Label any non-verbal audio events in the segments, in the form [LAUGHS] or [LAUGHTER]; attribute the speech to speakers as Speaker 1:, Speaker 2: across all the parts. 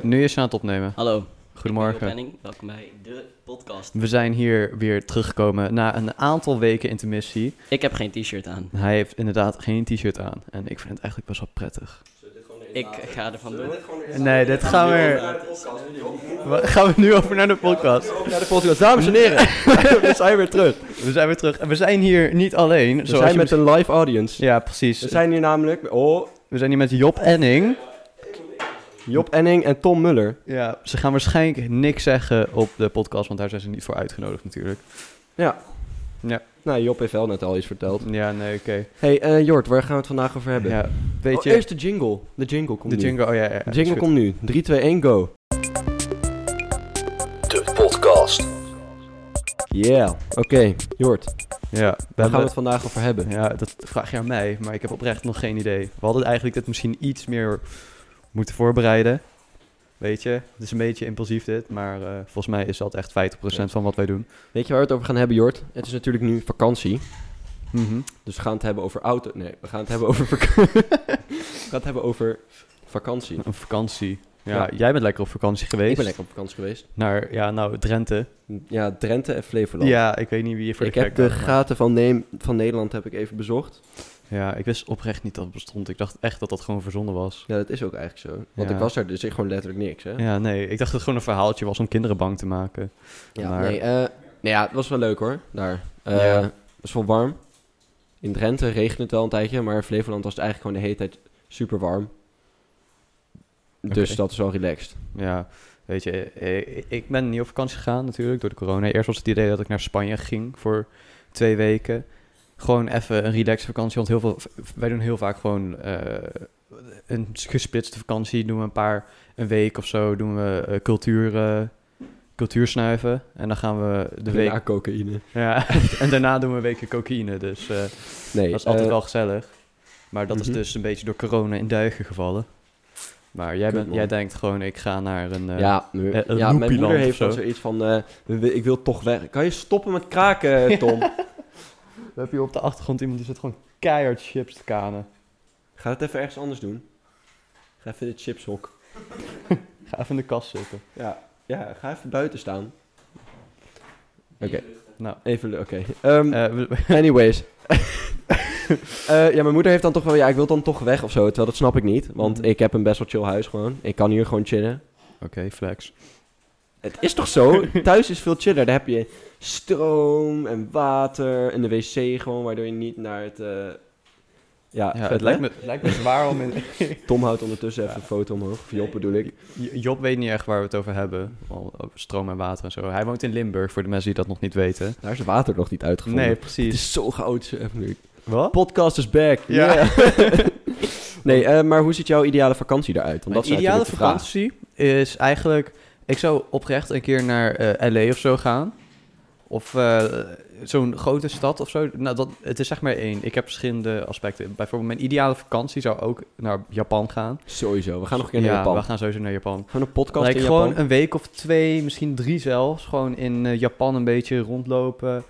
Speaker 1: Nu is je aan het opnemen.
Speaker 2: Hallo. Ik ben
Speaker 1: Goedemorgen.
Speaker 2: Wil Penning. Welkom bij de podcast.
Speaker 1: We zijn hier weer teruggekomen na een aantal weken intermissie.
Speaker 2: Ik heb geen t-shirt aan.
Speaker 1: Hij heeft inderdaad geen t-shirt aan. En ik vind het eigenlijk best wel prettig.
Speaker 2: Ik ga er vandoor.
Speaker 1: Nee, dit gaan we... Wa- Gaan we nu over naar de podcast.
Speaker 3: Ja, de podcast. Dames en heren, we zijn weer terug.
Speaker 1: We zijn weer terug. En we zijn hier niet alleen.
Speaker 3: We
Speaker 1: zoals
Speaker 3: zijn
Speaker 1: je
Speaker 3: met een live audience.
Speaker 1: misschien- Ja, precies.
Speaker 3: We zijn hier namelijk... Oh,
Speaker 1: We zijn hier met Job Enning.
Speaker 3: Job Enning en Tom Muller.
Speaker 1: Ja, ze gaan waarschijnlijk niks zeggen op de podcast, want daar zijn ze niet voor uitgenodigd natuurlijk.
Speaker 3: Nou, Job heeft wel net al iets verteld.
Speaker 1: Ja, nee, oké.
Speaker 3: hey, eh, Jort, waar gaan we het vandaag over hebben?
Speaker 1: Ja, weet
Speaker 3: Oh,
Speaker 1: je...
Speaker 3: eerst de jingle. De jingle komt
Speaker 1: de
Speaker 3: nu.
Speaker 1: jingle, oh ja, ja, ja.
Speaker 3: De
Speaker 1: is
Speaker 3: jingle
Speaker 1: goed.
Speaker 3: komt nu. 3, 2, 1, go.
Speaker 4: De podcast.
Speaker 3: Yeah. Oké, Jort,
Speaker 1: Ja, we
Speaker 3: waar gaan we
Speaker 1: hebben...
Speaker 3: het vandaag over hebben?
Speaker 1: Ja, dat vraag je aan mij, maar ik heb oprecht nog geen idee. We hadden eigenlijk dit misschien iets meer moeten voorbereiden. Weet je, het is een beetje impulsief dit, maar eh, volgens mij is dat echt 50% van wat wij doen.
Speaker 3: Weet je waar we het over gaan hebben, Jort? Het is natuurlijk nu vakantie.
Speaker 1: Mhm.
Speaker 3: Dus we gaan het hebben over auto... Nee, we gaan het hebben over... vak- [LAUGHS] we gaan het hebben over vakantie.
Speaker 1: Een vakantie. Ja,
Speaker 3: Ja.
Speaker 1: jij bent lekker op vakantie geweest.
Speaker 3: Ik ben lekker op vakantie geweest.
Speaker 1: Naar, ja, nou, Drenthe.
Speaker 3: Ja, Drenthe en Flevoland.
Speaker 1: Ja, ik weet niet wie je voor
Speaker 3: ik
Speaker 1: de gek
Speaker 3: heb de
Speaker 1: houdt, maar-
Speaker 3: gaten van, Neem- van Nederland heb ik even bezocht.
Speaker 1: Ja, ik wist oprecht niet dat het bestond. Ik dacht echt dat dat gewoon verzonnen was.
Speaker 3: Ja, dat is ook eigenlijk zo. Want
Speaker 1: Ja.
Speaker 3: ik was daar dus ik gewoon letterlijk niks, hè?
Speaker 1: Ja, nee, ik dacht dat het gewoon een verhaaltje was om kinderen bang te maken.
Speaker 3: Ja,
Speaker 1: maar-
Speaker 3: nee, eh, nou ja, het was wel leuk hoor, daar. Eh,
Speaker 1: Ja.
Speaker 3: Het was wel warm. In Drenthe regende het wel een tijdje, maar in Flevoland was het eigenlijk gewoon de hele tijd super warm. Dus
Speaker 1: Oké.
Speaker 3: dat is wel relaxed.
Speaker 1: Ja, weet je, eh, ik ben niet op vakantie gegaan natuurlijk door de corona. Eerst was het idee dat ik naar Spanje ging voor twee weken. Gewoon even een relaxed vakantie, want heel veel, wij doen heel vaak gewoon eh, een gesplitste vakantie. Doen we een paar, een week of zo, doen we eh, cultuur, eh, cultuur snuiven. En dan gaan we de
Speaker 3: Na
Speaker 1: week...
Speaker 3: cocaïne.
Speaker 1: Ja, [LAUGHS] en daarna doen we een weekje cocaïne, dus... eh,
Speaker 3: Nee,
Speaker 1: Dat is altijd
Speaker 3: eh,
Speaker 1: wel gezellig. Maar dat is
Speaker 3: mhm.
Speaker 1: dus een beetje door corona in duigen gevallen. Maar jij,
Speaker 3: Kut,
Speaker 1: bent,
Speaker 3: man.
Speaker 1: jij denkt gewoon, ik ga naar een... eh,
Speaker 3: ja, nu-
Speaker 1: eh, een
Speaker 3: ja, mijn
Speaker 1: loopieland
Speaker 3: moeder
Speaker 1: of
Speaker 3: heeft
Speaker 1: zo.
Speaker 3: dan zoiets van, eh, we- we- ik wil toch weg. Kan je stoppen met kraken, Tom?
Speaker 1: [LAUGHS] We hebben hier op de achtergrond iemand die zit gewoon keihard chips te kanen.
Speaker 3: Ga het even ergens anders doen. Ga even in het chipshok.
Speaker 1: Ga even in de kast zitten.
Speaker 3: Ja, ja ga even buiten staan. Oké,
Speaker 1: Nou,
Speaker 3: even, lu- oké. Ehm,
Speaker 1: eh, we- we-
Speaker 3: [LAUGHS] anyways. Eh, ja, mijn moeder heeft dan toch wel, ja, ik wil dan toch weg of zo. Terwijl dat snap ik niet, want
Speaker 1: Mhm.
Speaker 3: ik heb een best wel chill huis gewoon. Ik kan hier gewoon chillen.
Speaker 1: oké, flex.
Speaker 3: Het is toch zo?
Speaker 1: [LAUGHS]
Speaker 3: Thuis is veel chiller. Daar heb je stroom en water en de wc gewoon, waardoor je niet naar het... eh, Ja,
Speaker 1: Ja,
Speaker 3: vet,
Speaker 1: het
Speaker 3: hè?
Speaker 1: lijkt me, het lijkt me zwaar om... [LAUGHS] In...
Speaker 3: Tom houdt ondertussen even een foto omhoog. Of Job bedoel ik.
Speaker 1: J- Job weet niet echt waar we het over hebben. Al over stroom en water en zo. Hij woont in Limburg, voor de mensen die dat nog niet weten.
Speaker 3: Daar is het water nog niet uitgevonden.
Speaker 1: Nee,
Speaker 3: Het
Speaker 1: precies.
Speaker 3: is zo chaotisch even nu.
Speaker 1: Wat?
Speaker 3: Podcast is back.
Speaker 1: Ja. [LAUGHS]
Speaker 3: Yeah. nee, eh, maar hoe ziet jouw ideale vakantie eruit? Want dat is
Speaker 1: Mijn ideale
Speaker 3: natuurlijk de vraag.
Speaker 1: vakantie is eigenlijk... Ik zou oprecht een keer naar eh, L.A. of zo gaan. Of eh, zo'n grote stad of zo. Nou, dat, het is zeg maar één. Ik heb verschillende aspecten. Bijvoorbeeld mijn ideale vakantie zou ook naar Japan gaan.
Speaker 3: Sowieso. We gaan nog een keer naar
Speaker 1: ja,
Speaker 3: Japan.
Speaker 1: we gaan sowieso naar Japan.
Speaker 3: Gewoon een podcast
Speaker 1: Like
Speaker 3: in
Speaker 1: gewoon
Speaker 3: Japan.
Speaker 1: een week of twee, misschien drie zelfs. Gewoon in eh, Japan een beetje rondlopen.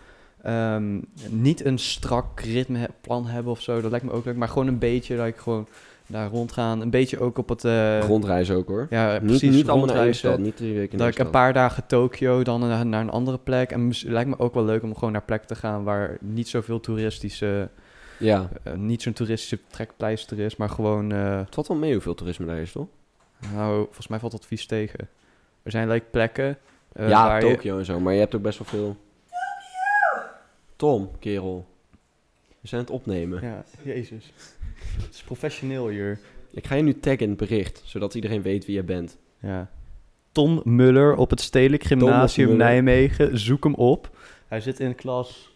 Speaker 1: Ehm, niet een strak ritme he- plan hebben of zo. Dat lijkt me ook leuk. Maar gewoon een beetje, like, gewoon daar rondgaan. Een beetje ook op het... eh,
Speaker 3: Rondreizen ook hoor.
Speaker 1: ja,
Speaker 3: niet,
Speaker 1: precies.
Speaker 3: niet allemaal naar één
Speaker 1: rondreizen.
Speaker 3: stad. Niet drie weken
Speaker 1: dat
Speaker 3: naar
Speaker 1: ik een paar dagen Tokio, dan naar, naar een andere plek. En mis- lijkt me ook wel leuk om gewoon naar plekken te gaan waar niet zoveel toeristische,
Speaker 3: Ja.
Speaker 1: eh, niet zo'n toeristische trekpleister is, maar gewoon, eh,
Speaker 3: Het valt wel mee hoeveel toerisme daar is, toch?
Speaker 1: nou, volgens mij valt dat vies tegen. Er zijn like plekken eh,
Speaker 3: ja,
Speaker 1: waar je-
Speaker 3: Tokio en zo. Maar je hebt ook best wel veel... Tom, kerel. We zijn aan het opnemen.
Speaker 1: Ja, jezus. Het is professioneel hier.
Speaker 3: Ik ga je nu taggen in het bericht, zodat iedereen weet wie je bent.
Speaker 1: Ja. Tom Muller op het Stedelijk Gymnasium
Speaker 3: Muller.
Speaker 1: Nijmegen. Zoek hem op. Hij zit in klas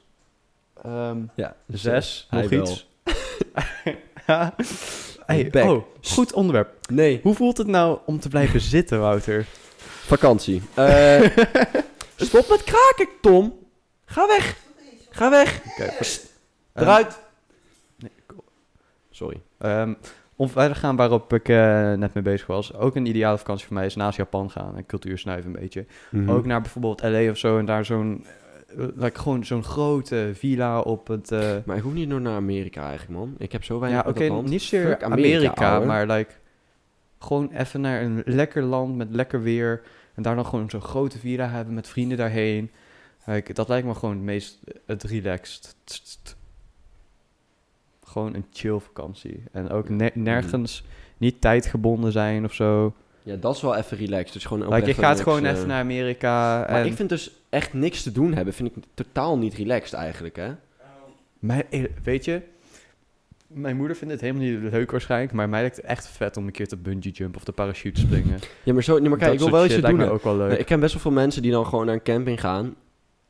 Speaker 1: ehm,
Speaker 3: Ja.
Speaker 1: zes,
Speaker 3: Hij
Speaker 1: nog
Speaker 3: wel.
Speaker 1: iets. [LAUGHS] hey,
Speaker 3: Back.
Speaker 1: oh, goed onderwerp.
Speaker 3: Nee.
Speaker 1: Hoe voelt het nou om te blijven [LAUGHS] zitten, Wouter?
Speaker 3: Vakantie. Eh,
Speaker 1: [LAUGHS]
Speaker 3: stop met kraken, Tom. Ga weg. Ga weg.
Speaker 1: Ehm,
Speaker 3: Eruit. Sorry.
Speaker 1: Ehm, om verder te gaan waarop ik eh, net mee bezig was. Ook een ideale vakantie voor mij is naast Japan gaan en cultuur snuiven een beetje.
Speaker 3: Mhm.
Speaker 1: Ook naar bijvoorbeeld LA of zo en daar zo'n... eh, like, gewoon zo'n grote villa op het... eh,
Speaker 3: Maar ik hoef niet door naar Amerika eigenlijk, man. Ik heb zo weinig
Speaker 1: ja, oké,
Speaker 3: met dat land.
Speaker 1: niet zozeer
Speaker 3: Fuck
Speaker 1: Amerika,
Speaker 3: Amerika, ouwe.
Speaker 1: maar like... Gewoon even naar een lekker land met lekker weer. En daar dan gewoon zo'n grote villa hebben met vrienden daarheen. Kijk, dat lijkt me gewoon het meest eh, het relaxed. Gewoon een chill vakantie. En ook ne-
Speaker 3: Mhm.
Speaker 1: nergens niet tijdgebonden zijn of zo.
Speaker 3: Ja, dat is wel even relaxed. Dus gewoon
Speaker 1: Like, je
Speaker 3: oprecht
Speaker 1: gaat
Speaker 3: relaxed,
Speaker 1: gewoon
Speaker 3: eh.
Speaker 1: even naar Amerika.
Speaker 3: Maar
Speaker 1: en-
Speaker 3: ik vind dus echt niks te doen hebben, vind ik totaal niet relaxed eigenlijk, hè?
Speaker 1: Mij, eh, weet je, mijn moeder vindt het helemaal niet leuk waarschijnlijk, maar mij lijkt het echt vet om een keer te bungee jump of de parachute springen.
Speaker 3: Ja, maar zo, nee, maar kijk,
Speaker 1: Dat
Speaker 3: ik wil
Speaker 1: soort
Speaker 3: wel
Speaker 1: shit
Speaker 3: iets te doen
Speaker 1: lijkt me
Speaker 3: hebben.
Speaker 1: ook wel leuk.
Speaker 3: Nee, ik ken best wel veel mensen die dan gewoon naar een camping gaan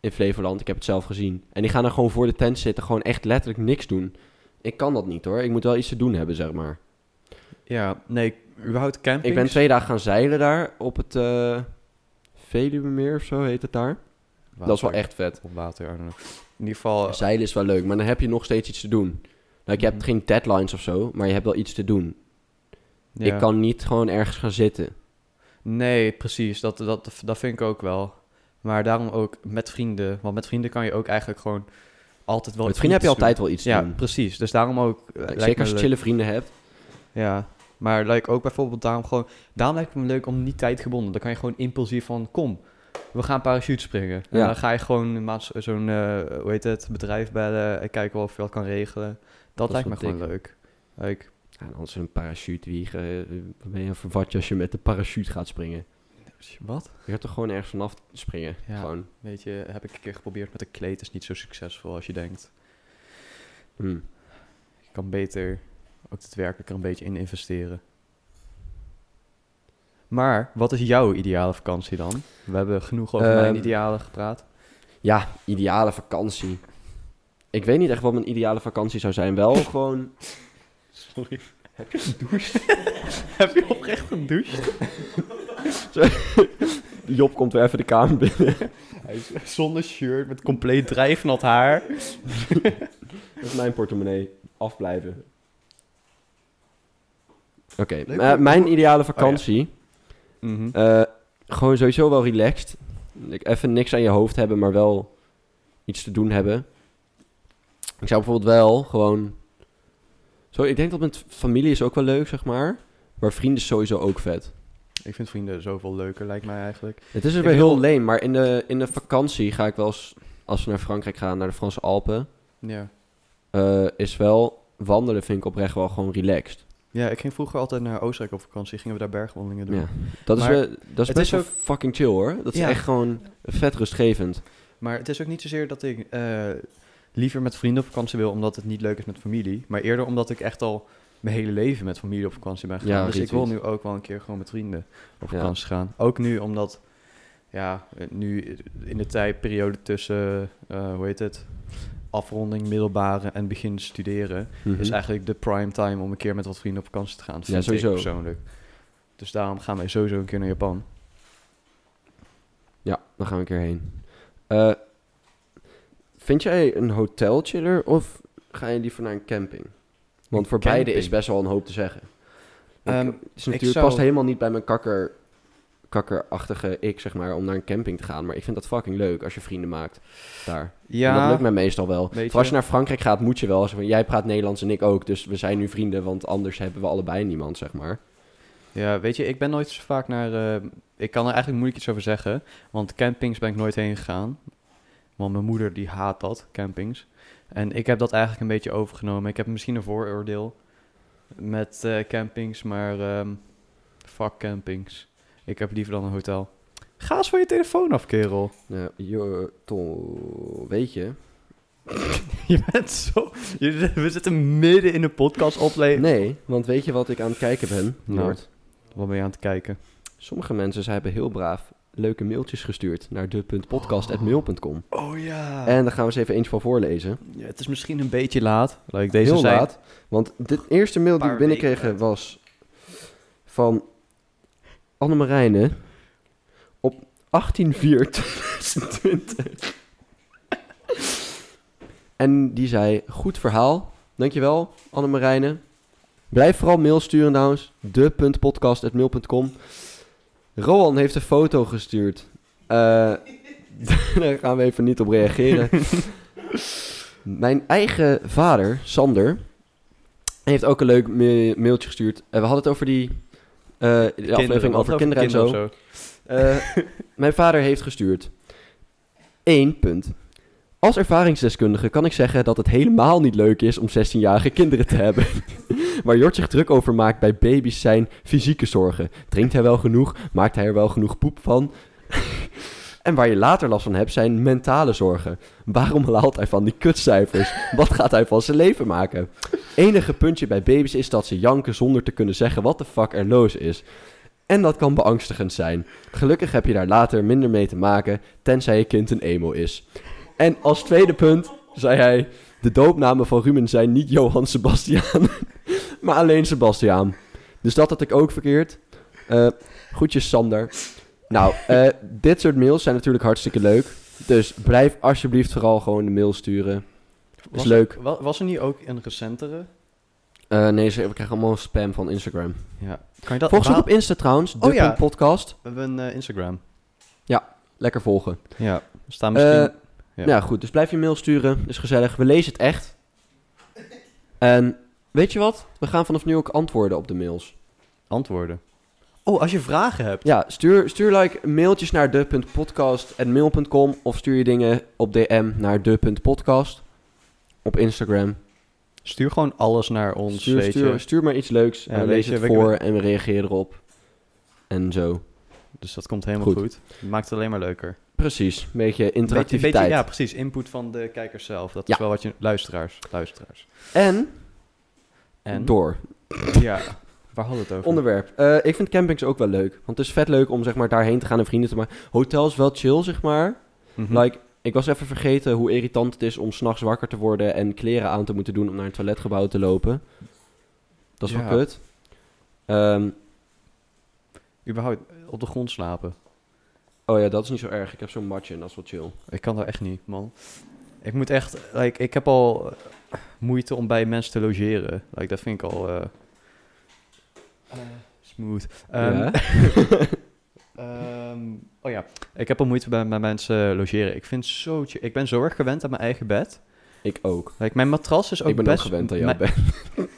Speaker 3: in Flevoland. Ik heb het zelf gezien. En die gaan dan gewoon voor de tent zitten, gewoon echt letterlijk niks doen. Ik kan dat niet hoor. Ik moet wel iets te doen hebben, zeg maar.
Speaker 1: Ja, nee, überhaupt camping.
Speaker 3: Ik ben twee dagen gaan zeilen daar op het eh Veluwemeer of zo heet het daar. Dat is wel echt vet.
Speaker 1: Op water, I don't know. In ieder geval,
Speaker 3: Zeilen is wel leuk, maar dan heb je nog steeds iets te doen. Nou, je hebt
Speaker 1: Mhm.
Speaker 3: geen deadlines of zo, maar je hebt wel iets te doen.
Speaker 1: ja.
Speaker 3: Ik kan niet gewoon ergens gaan zitten.
Speaker 1: Nee, precies, dat, dat, dat vind ik ook wel. Maar daarom ook met vrienden, want met vrienden kan je ook eigenlijk gewoon altijd wel
Speaker 3: Met
Speaker 1: iets
Speaker 3: vrienden heb je
Speaker 1: goeds doen.
Speaker 3: altijd wel iets te doen.
Speaker 1: Ja, precies. Dus daarom ook... eh, lijkt
Speaker 3: Zeker
Speaker 1: me
Speaker 3: als je
Speaker 1: leuk.
Speaker 3: chille vrienden hebt.
Speaker 1: Ja, maar like, ook bijvoorbeeld daarom gewoon... Daarom lijkt het me leuk om niet tijdgebonden. Dan kan je gewoon impulsief van... Kom, we gaan parachute springen. En
Speaker 3: Ja.
Speaker 1: dan ga je gewoon een maats- zo'n... eh, hoe heet het? Bedrijf bellen. En kijken of je dat kan regelen. Dat,
Speaker 3: is
Speaker 1: lijkt me
Speaker 3: wel
Speaker 1: gewoon leuk. Like,
Speaker 3: Ja, en anders een parachute wiegen. eh, Ben je verward als je met de parachute gaat springen?
Speaker 1: wat?
Speaker 3: Je gaat toch gewoon ergens vanaf springen?
Speaker 1: Ja.
Speaker 3: Gewoon.
Speaker 1: Weet je, heb ik een keer geprobeerd met een kleed. is niet zo succesvol als je denkt.
Speaker 3: Hm.
Speaker 1: Je kan beter ook het werkelijk er een beetje in investeren. Maar, wat is jouw ideale vakantie dan? We hebben genoeg over
Speaker 3: Ehm,
Speaker 1: mijn idealen gepraat.
Speaker 3: Ja, ideale vakantie. Ik weet niet echt wat mijn ideale vakantie zou zijn. Wel gewoon...
Speaker 1: Sorry. Heb je gedoucht? [LAUGHS] Heb je oprecht gedoucht?
Speaker 3: Job komt weer even de kamer binnen.
Speaker 1: Hij is zonder shirt, met compleet drijfnat haar.
Speaker 3: [LAUGHS] Dat is mijn portemonnee. Afblijven. Oké,
Speaker 1: Leuk.
Speaker 3: maar mijn ideale vakantie...
Speaker 1: Mhm.
Speaker 3: Eh, gewoon sowieso wel relaxed. Ik- Even niks aan je hoofd hebben, maar wel iets te doen hebben. Ik zou bijvoorbeeld wel gewoon... Zo, ik denk dat met familie is ook wel leuk, zeg maar. Maar vrienden is sowieso ook vet.
Speaker 1: Ik vind vrienden zoveel leuker, lijkt mij eigenlijk.
Speaker 3: Het is er
Speaker 1: Ik
Speaker 3: weer
Speaker 1: wil-
Speaker 3: heel leen, maar in de, in de vakantie ga ik wel eens... Als we naar Frankrijk gaan, naar de Franse Alpen...
Speaker 1: Ja.
Speaker 3: eh, is wel wandelen vind ik oprecht wel gewoon relaxed.
Speaker 1: ja, ik ging vroeger altijd naar Oostenrijk op vakantie. Gingen we daar bergwandelingen doen.
Speaker 3: Ja. Dat is,
Speaker 1: Maar
Speaker 3: wel, dat is
Speaker 1: het
Speaker 3: best
Speaker 1: is
Speaker 3: wel
Speaker 1: ook-
Speaker 3: fucking chill, hoor. Dat is
Speaker 1: Ja.
Speaker 3: echt gewoon vet rustgevend.
Speaker 1: Maar het is ook niet zozeer dat ik eh, liever met vrienden op vakantie wil... omdat het niet leuk is met familie. Maar eerder omdat ik echt al mijn hele leven met familie op vakantie ben gegaan.
Speaker 3: Ja,
Speaker 1: dus ik wil
Speaker 3: retweet.
Speaker 1: nu ook wel een keer gewoon met vrienden op
Speaker 3: Ja.
Speaker 1: vakantie gaan. Ook nu omdat... Ja, nu in de tijdperiode tussen, eh, hoe heet het, afronding middelbare en begin studeren... is
Speaker 3: Mhm.
Speaker 1: eigenlijk de prime time om een keer met wat vrienden op vakantie te gaan. Dat
Speaker 3: Ja,
Speaker 1: vind
Speaker 3: sowieso.
Speaker 1: ik persoonlijk. Dus daarom gaan wij sowieso een keer naar Japan.
Speaker 3: Ja, dan gaan we een keer heen. Eh, vind jij een hotel chiller of ga je liever naar een camping? Want
Speaker 1: Een
Speaker 3: voor beide
Speaker 1: camping?
Speaker 3: is best wel een hoop te zeggen. Ik-
Speaker 1: Ehm,
Speaker 3: het is natuurlijk
Speaker 1: zou-
Speaker 3: past helemaal niet bij mijn kakker, kakkerachtige ik, zeg maar, om naar een camping te gaan. Maar ik vind dat fucking leuk als je vrienden maakt daar. En dat lukt mij meestal wel.
Speaker 1: Weet je-
Speaker 3: Voor als je naar Frankrijk gaat, moet je wel. Zo van, Jij praat Nederlands en ik ook, dus we zijn nu vrienden, want anders hebben we allebei niemand, zeg maar.
Speaker 1: Ja, weet je, ik ben nooit zo vaak naar... eh, ik kan er eigenlijk moeilijk iets over zeggen, want campings ben ik nooit heen gegaan. Want mijn moeder die haat dat, campings. En ik heb dat eigenlijk een beetje overgenomen. Ik heb misschien een vooroordeel met eh, campings, maar ehm fuck campings. Ik heb liever dan een hotel. Ga eens van je telefoon af, kerel. [LAUGHS]
Speaker 3: Ja, Eh, joh, Tom, weet je?
Speaker 1: Je bent zo... je- we zitten midden in een podcast opleven.
Speaker 3: Nee, want weet je wat ik aan het kijken ben,
Speaker 1: Nou.
Speaker 3: Noord?
Speaker 1: Wat ben je aan het kijken?
Speaker 3: Sommige mensen ze hebben heel braaf leuke mailtjes gestuurd naar de.podcast.mail.com.
Speaker 1: Oh ja.
Speaker 3: En daar gaan we eens even eentje van voorlezen.
Speaker 1: Ja, het is misschien een beetje laat. Like, deze
Speaker 3: heel
Speaker 1: zijn...
Speaker 3: laat, want de eerste mail die we
Speaker 1: Paar
Speaker 3: binnenkregen
Speaker 1: weken
Speaker 3: was van Annemarijne op 18-4-2020. En die zei, goed verhaal. Dankjewel, Annemarijne. Blijf vooral mail sturen trouwens. De.podcast.mail.com Roan heeft een foto gestuurd. Eh, [LAUGHS] daar gaan we even niet op [LAUGHS] reageren. Mijn eigen vader, Sander, heeft ook een leuk ma- mailtje gestuurd. En we hadden het over die eh, Eh, de aflevering over kinderen en zo.
Speaker 1: of
Speaker 3: Eh, [LAUGHS] mijn vader heeft gestuurd. 1 punt. Als ervaringsdeskundige kan ik zeggen dat het helemaal niet leuk is om 16-jarige kinderen te hebben. [LAUGHS] Waar Jort zich druk over maakt bij baby's zijn fysieke zorgen. Drinkt hij wel genoeg? Maakt hij er wel genoeg poep van? [LAUGHS] en waar je later last van hebt zijn mentale zorgen. Waarom haalt hij van die kutcijfers? Wat gaat hij van zijn leven maken? Enige puntje bij baby's is dat ze janken zonder te kunnen zeggen wat de fuck er los is. En dat kan beangstigend zijn. Gelukkig heb je daar later minder mee te maken, tenzij je kind een emo is. En als tweede punt zei hij: De doopnamen van Ruben zijn niet Johan Sebastiaan, [LAUGHS] maar alleen Sebastiaan. Dus dat had ik ook verkeerd. Eh groetjes, Sander. Nou, eh, dit soort mails zijn natuurlijk hartstikke leuk. Dus blijf alsjeblieft vooral gewoon de mail sturen. Is
Speaker 1: Was-
Speaker 3: leuk.
Speaker 1: wa- Was er niet ook een recentere?
Speaker 3: Eh, nee, ze- we krijgen allemaal spam van Instagram.
Speaker 1: Ja. Kan je dat...
Speaker 3: Volg ons
Speaker 1: wa-
Speaker 3: op Insta trouwens, de
Speaker 1: Oh ja.
Speaker 3: podcast.
Speaker 1: We hebben een eh, Instagram.
Speaker 3: Lekker volgen.
Speaker 1: Ja. We staan Ah, misschien...
Speaker 3: Eh,
Speaker 1: ja.
Speaker 3: Nou goed, dus blijf je mail sturen. Is gezellig. We lezen het echt. En weet je wat? We gaan vanaf nu ook antwoorden op de mails.
Speaker 1: antwoorden. Oh, als je vragen hebt.
Speaker 3: Ja, stuur, stuur like mailtjes naar de.podcast.mail.com of stuur je dingen op DM naar de.podcast op Instagram.
Speaker 1: Stuur gewoon alles naar ons,
Speaker 3: Stuur,
Speaker 1: weet
Speaker 3: stuur,
Speaker 1: je.
Speaker 3: stuur maar iets leuks
Speaker 1: Ja,
Speaker 3: en we
Speaker 1: weet
Speaker 3: lezen
Speaker 1: je,
Speaker 3: het
Speaker 1: we-
Speaker 3: voor en we reageren erop. En zo.
Speaker 1: Dus dat komt helemaal
Speaker 3: Goed.
Speaker 1: goed. Maakt het alleen maar leuker.
Speaker 3: Precies, een beetje
Speaker 1: Beetje,
Speaker 3: interactiviteit.
Speaker 1: beetje, ja, precies. Input van de kijkers zelf. Dat
Speaker 3: Ja.
Speaker 1: is wel wat je... Luisteraars. Luisteraars.
Speaker 3: En,
Speaker 1: En?
Speaker 3: door.
Speaker 1: Ja. Waar hadden we het over?
Speaker 3: Onderwerp. Eh, ik vind campings ook wel leuk. Want het is vet leuk om zeg maar, daarheen te gaan en vrienden te maken. Hotels wel chill, zeg maar.
Speaker 1: Mhm.
Speaker 3: Like, ik was even vergeten hoe irritant het is om s'nachts wakker te worden en kleren aan te moeten doen om naar een toiletgebouw te lopen. Dat is
Speaker 1: Ja.
Speaker 3: wel kut. Ehm,
Speaker 1: Überhaupt eh, op de grond slapen.
Speaker 3: oh ja, dat is niet zo erg. Ik heb zo'n matje en dat is wel chill.
Speaker 1: Ik kan daar echt niet, man. Ik moet echt... Like, ik heb al eh, moeite om bij mensen te logeren. Like, dat vind ik al... eh, smooth. Ehm,
Speaker 3: Ja.
Speaker 1: [LAUGHS]
Speaker 3: [LAUGHS]
Speaker 1: Ehm, oh ja, ik heb al moeite bij, bij mensen logeren. Ik vind zo, chill- ik ben zo erg gewend aan mijn eigen bed.
Speaker 3: Ik ook.
Speaker 1: Like, mijn matras [LAUGHS] is ook
Speaker 3: ik ben
Speaker 1: best...
Speaker 3: ook gewend aan jouw
Speaker 1: mijn-
Speaker 3: bed.
Speaker 1: [LAUGHS]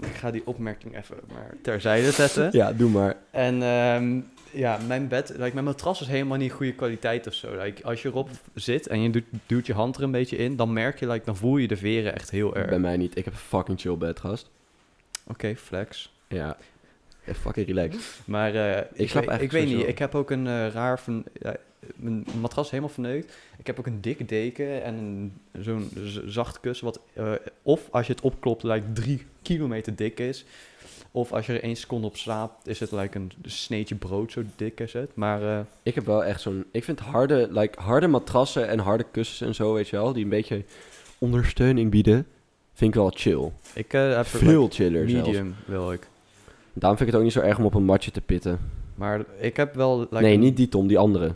Speaker 1: Ik ga die opmerking even maar terzijde
Speaker 3: [LAUGHS]
Speaker 1: zetten.
Speaker 3: Ja, doe maar.
Speaker 1: En ehm, ja, mijn bed, like, mijn matras is helemaal niet goede kwaliteit of zo. Like, als je erop zit en je duwt, duwt je hand er een beetje in, dan merk je, like, dan voel je de veren echt heel erg.
Speaker 3: Bij
Speaker 1: Oké,
Speaker 3: mij niet. Ik heb een fucking chill bed, gast.
Speaker 1: flex.
Speaker 3: Ja. Echt fucking relaxed.
Speaker 1: Maar eh, ik,
Speaker 3: snap
Speaker 1: weet-
Speaker 3: eigenlijk
Speaker 1: ik weet
Speaker 3: sowieso.
Speaker 1: niet, ik heb ook een eh, raar van. ja, mijn matras is helemaal verneukt. Ik heb ook een dik deken en een- zo'n z- zacht kussen. Wat, eh, of als je het opklopt, lijkt drie kilometer dik is. Of als je er één seconde op slaapt, is het lijkt een sneetje brood zo dik is het. Maar eh,
Speaker 3: Ik heb wel echt zo'n... Ik vind harde, like, harde matrassen en harde kussens en zo, weet je wel, die een beetje ondersteuning bieden, vind ik wel chill.
Speaker 1: ik eh, heb er,
Speaker 3: Veel
Speaker 1: like,
Speaker 3: chiller zelfs.
Speaker 1: medium wil ik.
Speaker 3: Daarom vind ik het ook niet zo erg om op een matje te pitten.
Speaker 1: Maar ik heb wel. like,
Speaker 3: nee,
Speaker 1: een-
Speaker 3: niet die Tom, die andere.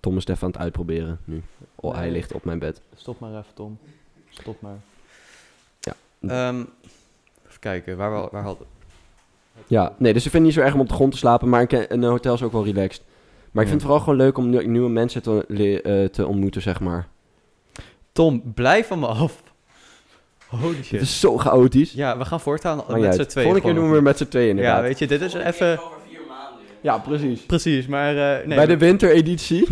Speaker 3: Tom is het even aan het uitproberen nu. Oh,
Speaker 1: Nee.
Speaker 3: hij ligt op mijn bed.
Speaker 1: Stop maar even, Tom. Stop maar.
Speaker 3: Ja.
Speaker 1: Ehm, even kijken, waar, we- waar hadden
Speaker 3: Ja, nee, dus ik vind het niet zo erg om op de grond te slapen, maar een ke- een hotel is ook wel relaxed. Maar
Speaker 1: Ja.
Speaker 3: ik vind het vooral gewoon leuk om nieuw- nieuwe mensen te, le- eh, te ontmoeten, zeg maar.
Speaker 1: Tom, blijf van me af. Holy shit.
Speaker 3: Het is zo chaotisch.
Speaker 1: Ja, we gaan voortaan
Speaker 3: Maar
Speaker 1: met
Speaker 3: ja,
Speaker 1: z'n tweeën.
Speaker 3: volgende keer doen we
Speaker 1: gewoon.
Speaker 3: weer met z'n tweeën
Speaker 1: Ja,
Speaker 3: inderdaad. Ja,
Speaker 1: weet je, dit
Speaker 2: Dus
Speaker 1: is even...
Speaker 2: Over vier maanden. joh.
Speaker 3: precies.
Speaker 1: Precies, maar eh, nee,
Speaker 3: Bij de wintereditie.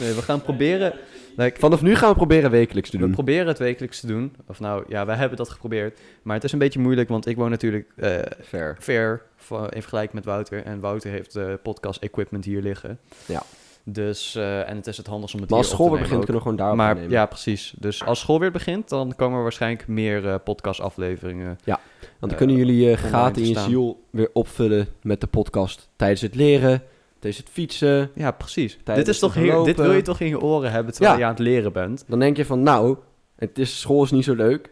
Speaker 1: nee, we gaan proberen... Like,
Speaker 3: Vanaf nu gaan we proberen wekelijks te
Speaker 1: we
Speaker 3: doen.
Speaker 1: proberen het wekelijks te doen. Of nou, ja, wij hebben dat geprobeerd. Maar het is een beetje moeilijk, want ik woon natuurlijk eh
Speaker 3: Fair.
Speaker 1: ver va- in vergelijking met Wouter. En Wouter heeft eh, podcast equipment hier liggen.
Speaker 3: Ja.
Speaker 1: Dus, eh, en het is het handig om het
Speaker 3: Maar als
Speaker 1: hier
Speaker 3: school
Speaker 1: op te
Speaker 3: weer begint,
Speaker 1: nemen ook.
Speaker 3: kunnen we gewoon daarop
Speaker 1: maar
Speaker 3: nemen.
Speaker 1: ja, precies. Dus als school weer begint, dan komen er waarschijnlijk meer eh podcast-afleveringen.
Speaker 3: Want dan
Speaker 1: eh,
Speaker 3: kunnen jullie je
Speaker 1: online
Speaker 3: gaten
Speaker 1: te
Speaker 3: in je
Speaker 1: staan.
Speaker 3: ziel weer opvullen met de podcast. Tijdens het leren, tijdens het fietsen.
Speaker 1: Ja, precies.
Speaker 3: Tijdens
Speaker 1: dit, is toch
Speaker 3: het
Speaker 1: heel- dit
Speaker 3: lopen.
Speaker 1: wil je toch in je oren hebben terwijl
Speaker 3: Ja.
Speaker 1: je aan het leren bent?
Speaker 3: Dan denk je van, nou, het is, school is niet zo leuk.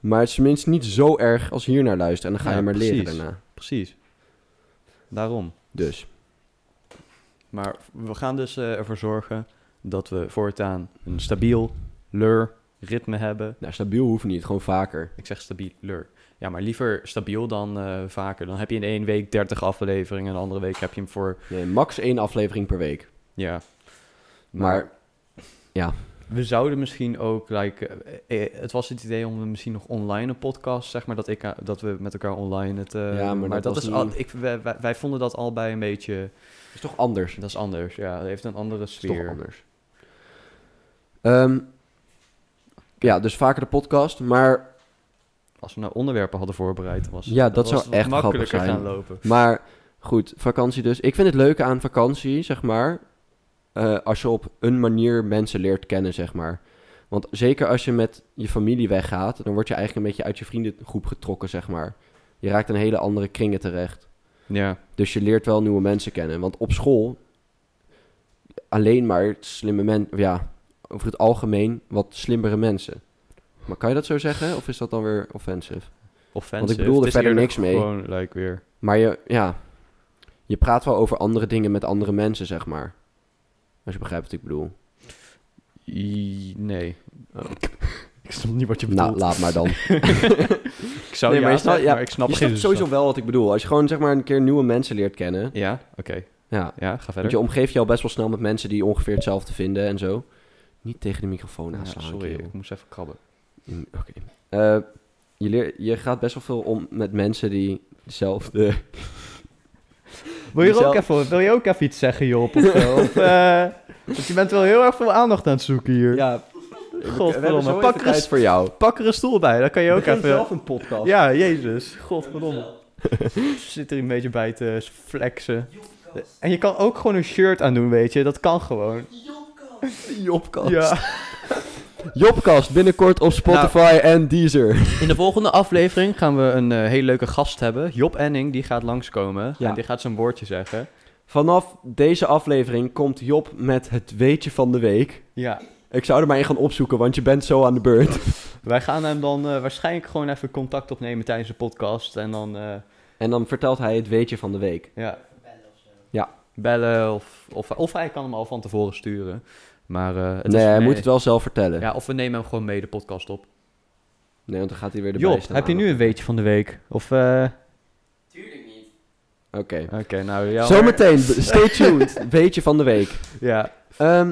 Speaker 3: Maar het is tenminste niet zo erg als hier naar luisteren. En dan ga
Speaker 1: Ja,
Speaker 3: je maar leren
Speaker 1: precies.
Speaker 3: daarna.
Speaker 1: Precies. Daarom.
Speaker 3: Dus,
Speaker 1: Maar we gaan dus eh, ervoor zorgen dat we voortaan een stabiel leur ritme hebben.
Speaker 3: nou, stabiel hoeft niet, gewoon vaker.
Speaker 1: Ik zeg stabiel leur. Ja, maar liever stabiel dan eh, vaker. Dan heb je in één week 30 afleveringen en de andere week heb je hem voor.
Speaker 3: Nee, max één aflevering per week.
Speaker 1: Ja.
Speaker 3: Maar, ja,
Speaker 1: we zouden misschien ook, like, eh, eh, het was het idee om misschien nog online een podcast, zeg maar, dat, ik, eh, dat we met elkaar online het... eh,
Speaker 3: Ja, maar dat was
Speaker 1: is
Speaker 3: niet-
Speaker 1: al, ik, wij, wij- wij vonden dat al bij een beetje,
Speaker 3: is toch anders?
Speaker 1: dat is anders, ja, het heeft een andere
Speaker 3: is toch
Speaker 1: sfeer.
Speaker 3: anders. Ehm, ja, dus vaker de podcast. Maar,
Speaker 1: Als we nou onderwerpen hadden voorbereid, was
Speaker 3: Ja, dat
Speaker 1: was
Speaker 3: zou
Speaker 1: het wat
Speaker 3: echt grappig
Speaker 1: makkelijker
Speaker 3: zijn.
Speaker 1: gaan lopen.
Speaker 3: maar goed, vakantie dus. Ik vind het leuke aan vakantie, zeg maar... eh, als je op een manier mensen leert kennen, zeg maar. Want zeker als je met je familie weggaat... dan word je eigenlijk een beetje uit je vriendengroep getrokken, zeg maar. Je raakt in hele andere kringen terecht.
Speaker 1: Ja,
Speaker 3: Dus je leert wel nieuwe mensen kennen. Want op school alleen maar slimme mensen. Ja, over het algemeen wat slimmere mensen. Maar kan je dat zo zeggen? Of is dat dan weer offensive?
Speaker 1: offensive.
Speaker 3: bedoel er
Speaker 1: Het is
Speaker 3: verder
Speaker 1: eerder
Speaker 3: niks mee.
Speaker 1: Gewoon, like, weer.
Speaker 3: Maar je, ja, je praat wel over andere dingen met andere mensen, zeg maar. Als je begrijpt wat ik bedoel.
Speaker 1: I- nee.
Speaker 3: Oh.
Speaker 1: ik snap niet wat je bedoelt.
Speaker 3: Nou, laat maar
Speaker 1: [LAUGHS]
Speaker 3: dan.
Speaker 1: ik zou
Speaker 3: Nee,
Speaker 1: ja
Speaker 3: maar je snapt-
Speaker 1: zeggen,
Speaker 3: ja,
Speaker 1: maar ik snap
Speaker 3: je
Speaker 1: geen
Speaker 3: snapt sowieso
Speaker 1: zin.
Speaker 3: wel wat ik bedoel. Als je gewoon zeg maar een keer nieuwe mensen leert kennen.
Speaker 1: dus Ja, oké.
Speaker 3: Ja.
Speaker 1: Ja, ga
Speaker 3: Want
Speaker 1: verder.
Speaker 3: je omgeeft je al best wel snel met mensen die ongeveer hetzelfde vinden en zo. Niet tegen de microfoon
Speaker 1: Ja,
Speaker 3: aanslaan.
Speaker 1: sorry,
Speaker 3: kerel.
Speaker 1: ik moest even krabben.
Speaker 3: Mm, Oké. Eh, je, leer- je gaat best wel veel om met mensen die dezelfde...
Speaker 1: Wil je, er ook
Speaker 3: Jezelf-
Speaker 1: even, wil je ook even iets zeggen, Job? Of,
Speaker 3: [LAUGHS]
Speaker 1: zo? Of, eh, want je bent wel heel erg veel aandacht aan het zoeken hier.
Speaker 3: [LAUGHS] Ja,
Speaker 1: Godverdomme. Pak er, een,
Speaker 3: voor jou.
Speaker 1: pak er een stoel bij, dan kan je ook even...
Speaker 3: een podcast. [LAUGHS]
Speaker 1: Ja, jezus. Godverdomme. [LAUGHS] Zit er een beetje bij te flexen. En je kan ook gewoon een shirt aan doen, weet je. Dat kan gewoon.
Speaker 3: Jobkast.
Speaker 1: Ja. Nou.
Speaker 3: Jobkast, binnenkort op Spotify en Deezer.
Speaker 1: In de volgende aflevering gaan we een eh, hele leuke gast hebben. Job Enning, die gaat langskomen.
Speaker 3: Ja.
Speaker 1: En die gaat zijn woordje zeggen.
Speaker 3: Vanaf deze aflevering komt Job met het weetje van de week.
Speaker 1: Ja.
Speaker 3: Ik zou er maar één gaan opzoeken, want je bent zo aan de beurt. [LAUGHS]
Speaker 1: Wij gaan hem dan eh, waarschijnlijk gewoon even contact opnemen tijdens de podcast. En dan... eh,
Speaker 3: En dan vertelt hij het weetje van de week.
Speaker 1: Ja. Bellen of Of, of hij kan hem al van tevoren sturen. Maar eh, het
Speaker 3: nee,
Speaker 1: is-
Speaker 3: hij moet het wel zelf vertellen.
Speaker 1: Ja, of we nemen hem gewoon mee de podcast op.
Speaker 3: Nee, want dan gaat hij weer erbij
Speaker 1: Job,
Speaker 3: staan.
Speaker 1: heb je nu een weetje van de week? Of, eh,
Speaker 2: Tuurlijk niet.
Speaker 3: Oké.
Speaker 1: Oké, nou ja. [LAUGHS]
Speaker 3: Zometeen, stay tuned. weetje van de week.
Speaker 1: Ja.
Speaker 3: Ehm,